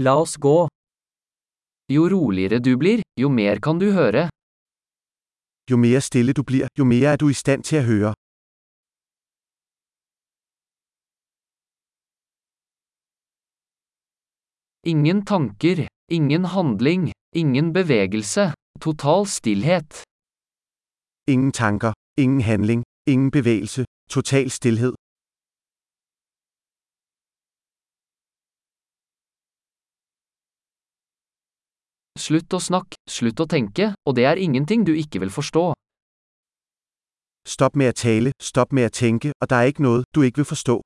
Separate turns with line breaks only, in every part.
La oss gå. Jo roligere du blir, jo mer kan du høre.
Jo mere stille du bliver, jo mere er du i stand til at høre.
Ingen tanker, ingen handling, ingen bevegelse, total stillhet.
Ingen tanker, ingen handling, ingen bevægelse, total stilhed.
Slutt å snakke, slutt å tenke, og det er ingenting du ikke vil forstå.
Stop med at tale, stop med at tænke, og der er ikke noget, du ikke vil forstå.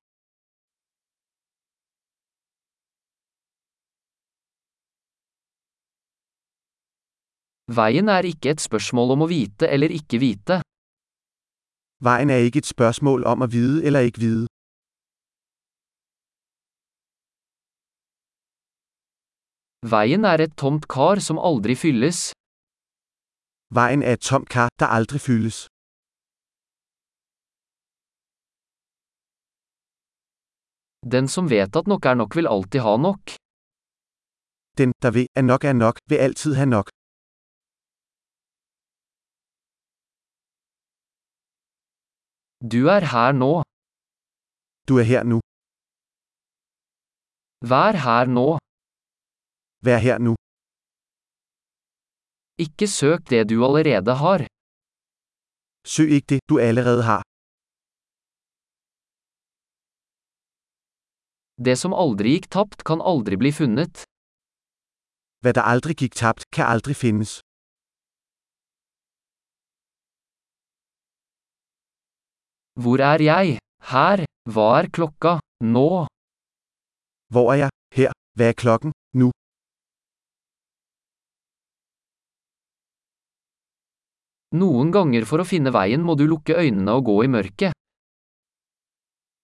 Veien er ikke et spørsmål om å vite eller ikke vite.
Vejen er ikke et spørgsmål om at vide eller ikke vide.
Veien er et tomt kar som aldri fylles.
Vejen er et tomt kar, der aldrig fyldes.
Den som vet at nok er nok, vil alltid ha nok.
Den, der ved, at nok er nok, vil altid have nok.
Du er her nå.
Du er her nu.
Vær her nå.
Vær her nu.
Ikke søk det du allerede har.
Søg ikke det, du allerede har.
Det som aldri gikk tapt, kan aldri bli funnet.
Hvad der aldrig gik tabt, kan aldrig findes.
Hvor er jeg? Her. Hva er klokka? Nå.
Hvor er jeg? Her. Hvad er klokken? Nu.
Noen ganger for å finne veien må du lukke øynene og gå i mørket.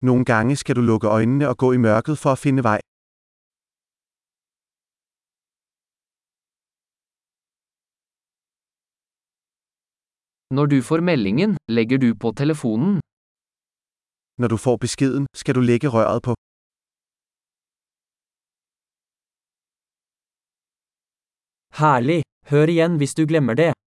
Nogle gange skal du lukke øjnene og gå i mørket for at finde vej.
Når du får meldingen, legger du på telefonen.
Når du får beskeden, skal du lægge røret på.
Herlig! Hør igjen hvis du glemmer det.